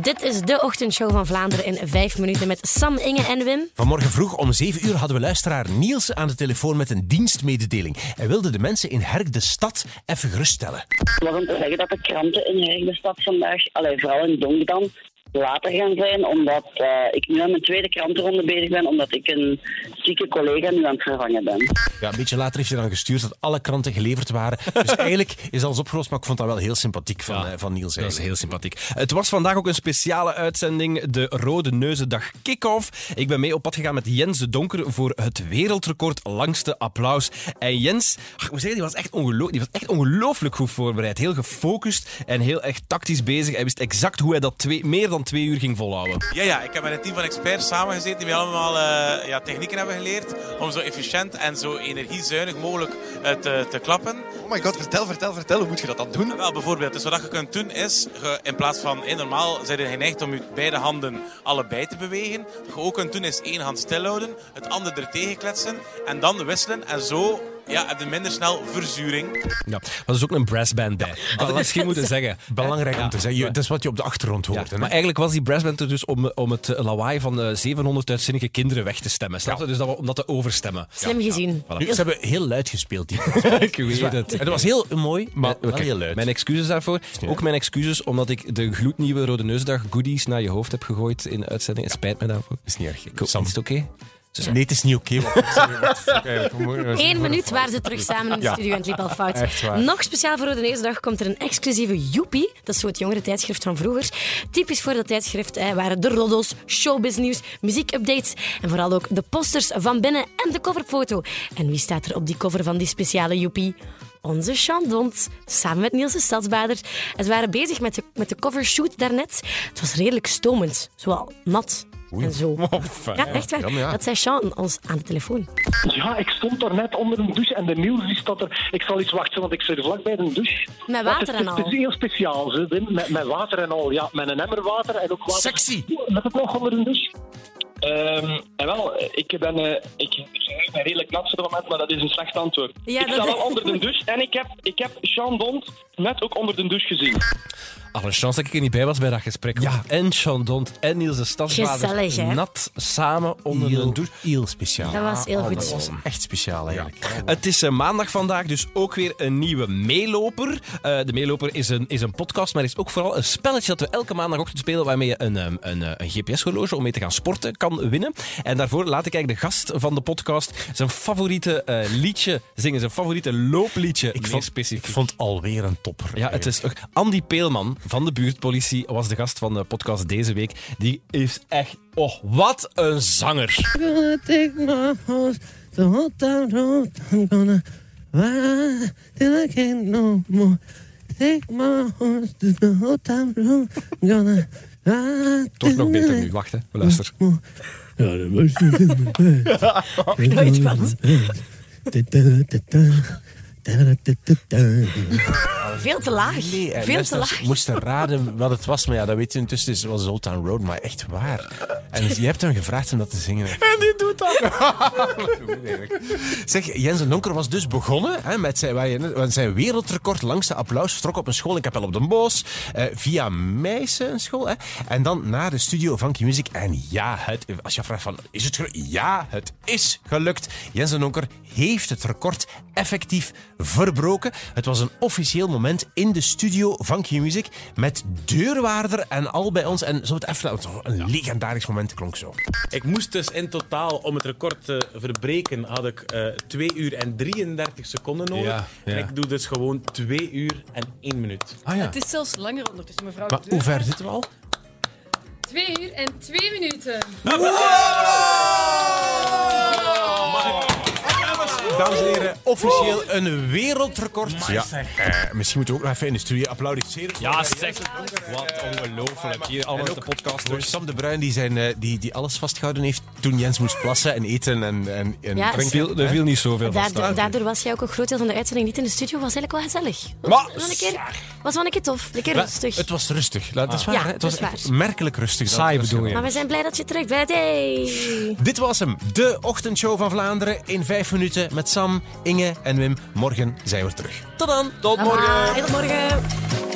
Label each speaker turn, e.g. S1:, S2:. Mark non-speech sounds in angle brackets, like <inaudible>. S1: Dit is de ochtendshow van Vlaanderen in vijf minuten met Sam, Inge en Wim.
S2: Vanmorgen vroeg om 7 uur hadden we luisteraar Niels aan de telefoon met een dienstmededeling. Hij wilde de mensen in Herk de Stad even geruststellen.
S3: Het was om te zeggen dat de kranten in Herk de stad vandaag, allee, vooral in Donkdan, later gaan zijn. Omdat eh, ik nu aan mijn tweede krantenronde bezig ben, omdat ik een zieke collega nu aan het vervangen ben.
S2: Ja, een beetje later heeft hij dan gestuurd dat alle kranten geleverd waren.
S4: <laughs>
S2: Dus eigenlijk is alles opgelost, maar ik vond dat wel heel sympathiek van, eh, van Niels.
S4: Dat is
S2: eigenlijk.
S4: heel sympathiek. Het was vandaag ook een speciale uitzending, de Rode Neuzendag Kick-Off. Ik ben mee op pad gegaan met Jens de Donker voor het wereldrecord langste applaus. En Jens, ach, ik moet zeggen, die was, echt ongelo- die was echt ongelooflijk goed voorbereid. Heel gefocust en heel echt tactisch bezig. Hij wist exact hoe hij dat twee, meer dan twee uur ging volhouden.
S5: Ja, ja, ik heb met een team van experts samengezeten die mij allemaal eh, ja, technieken hebben geleerd om zo efficiënt en zo energiezuinig mogelijk eh, te, te klappen.
S6: Oh my god, vertel, vertel, vertel. Hoe moet je dat dan doen?
S5: Wel, bijvoorbeeld, dus wat je kunt doen is, je, in plaats van, eh, normaal zijn je geneigd om je beide handen allebei te bewegen. Wat je ook kunt doen is één hand stilhouden, het andere er tegen kletsen en dan wisselen en zo... Ja, heb je minder snel verzuring.
S4: Ja, er was dus ook een brassband bij. Had ik misschien
S2: <laughs>
S4: moeten zeggen.
S2: Belangrijk om te zeggen, Je-
S4: maar-
S2: dat is wat je op de achtergrond hoort.
S4: Ja,
S2: hè.
S4: maar eigenlijk was die brassband er dus om, om het eh, lawaai van eh, 700 uitzinnige kinderen weg te stemmen. Snap je? Dus dat we, om dat te overstemmen.
S1: Slim gezien.
S4: Voilà.
S2: Nu, ze hebben heel luid gespeeld,
S4: <laughs>
S2: die
S4: Ik weet het.
S2: En dat was heel mooi, maar wel
S4: <laughs> Oké,
S2: heel luid.
S4: Mijn excuses daarvoor. Ook mijn excuses omdat ik de gloednieuwe Rode Neusdag goodies naar je hoofd heb gegooid in de uitzending. Het spijt me daarvoor.
S2: is niet erg.
S4: Ik hoop, is
S2: Sam.
S4: het oké?
S2: Nee, het is niet oké.
S1: Eén minuut waren ze terug samen in de
S2: Ja.
S1: studio en het liep al fout.
S2: Echt waar.
S1: Nog speciaal voor Rode Neusdag komt er een exclusieve Joepie. Dat is zo het jongere tijdschrift van vroeger. Typisch voor dat tijdschrift eh, waren de roddels, showbiznieuws, muziekupdates en vooral ook de posters van binnen en de coverfoto. En wie staat er op die cover van die speciale Joepie? Onze Chandont, samen met Niels de Stadsbader. En ze waren bezig met de, met de covershoot daarnet. Het was redelijk stomend, zowel nat en
S4: <laughs>
S1: zo.
S2: <laughs>
S1: Ja, echt waar. Dat zei Sean ons aan de telefoon.
S7: Ja, ik stond daar net onder een douche en de Niels die staat er. Ik zal iets wachten, want ik zit vlak bij de douche. Dat
S1: Met water
S7: is-
S1: en
S7: Het is
S1: al.
S7: heel speciaal, hè, Wim. Met, met water en al, ja. Met een emmer water en ook water.
S2: Sexy.
S7: Met het nog onder een douche.
S8: Ehm, en wel, ik ben, eh, ik, ik ben redelijk nat op dit moment, maar dat is een slecht antwoord.
S1: Ja,
S8: ik
S1: dat-
S8: sta wel onder de douche en ik heb, ik heb Sean Dont net ook onder de douche gezien.
S4: Alle chance dat ik er niet bij was bij dat gesprek. Ja. En Chandont en Niels de
S1: Gezellig, hè?
S4: Stadsvader nat samen onder
S2: Heel,
S4: een douche.
S2: heel speciaal.
S1: Ah, Dat was heel goed.
S2: Echt speciaal eigenlijk.
S4: Het is eh, maandag vandaag, dus ook weer een nieuwe meeloper. Eh, de meeloper is een, is een podcast, maar is ook vooral een spelletje dat we elke maandagochtend spelen, waarmee je een, ehm, een, eh, een GPS-horloge om mee te gaan sporten kan winnen. En daarvoor laat ik eigenlijk de gast van de podcast zijn favoriete eh, liedje zingen, zijn favoriete loopliedje. meer specifiek.
S2: Ik vond alweer een topper.
S4: Ja, het is ook... Andy Peelman van de buurtpolitie was de gast van de podcast deze week. Die is echt... Oh, wat een zanger.
S9: gonna take my horse the whole time road. I'm gonna ride till I can't no more. Take my horse to the whole time road. I'm gonna ride
S4: Toch nog
S9: till
S4: beter
S9: I
S4: nu. Wacht, hè. Luister.
S9: Ja, dat was niet in mijn bed.
S1: <laughs> nooit wat. Veel te laag. Veel te laag.
S2: eh, moesten raden <laughs> wat het was, maar ja, dat weet je intussen. Het was Old Town Road, maar echt waar. En je hebt hem gevraagd om dat te zingen. <laughs> En die doet dat. zeg, Jens en Donker was dus begonnen hè, met zijn, waar je net- want zijn wereldrecord langste applaus. Vertrok op een school in Kapel op den Bosch, eh, via Meissen een school. Hè, en dan naar de studio Funky Music. En ja, het, als je vraagt van, is het gelukt? Ja, het is gelukt. Jens en Donker heeft het record effectief verbroken. Het was een officieel moment in de studio van Q Music met deurwaarder en al bij ons. En zo het even, het was een legendarisch moment klonk zo.
S10: Ik moest dus in totaal, om het record te verbreken, had ik eh 2 uur en 33 seconden nodig.
S4: Ja, ja.
S10: En ik doe dus gewoon 2 uur en 1 minuut.
S4: Ah ja.
S11: Het is zelfs langer ondertussen, mevrouw.
S2: Maar hoe ver zitten we al?
S11: Twee uur en twee minuten.
S2: Dames en heren, officieel een wereldrecord. Ja, eh, misschien moeten we ook nog even in de studio applaudisseren.
S4: Ja, zeg. Wat ongelooflijk. Hier allemaal
S2: En
S4: op de
S2: ook
S4: podcast. dus.
S2: Voor Sam de Bruin, die, zijn, eh, die, die alles vastgehouden heeft toen Jens moest plassen en eten en, en, en
S1: Ja,
S2: drinken.
S4: Viel, er viel niet zoveel van
S1: Daardoor,
S4: staan.
S1: daardoor was jij ook een groot deel van de uitzending niet in de studio. was eigenlijk wel gezellig.
S4: Maar-
S1: was wel een keer, was wel een keer tof. Een keer
S2: Maar
S1: rustig. Ah.
S2: Het was rustig. Dat is waar,
S1: Ja,
S2: hè? Het
S1: dat
S2: was
S1: is
S2: echt
S1: waar.
S2: merkelijk rustig. dat
S4: Saai
S2: het was
S4: bedoel je.
S1: Maar we zijn blij dat je terug bent. Hey.
S2: Dit was hem, de ochtendshow van Vlaanderen in vijf minuten met Sam, Inge en Wim. Morgen zijn we terug.
S4: Tot dan. Tot morgen.
S1: Bye. Tot morgen.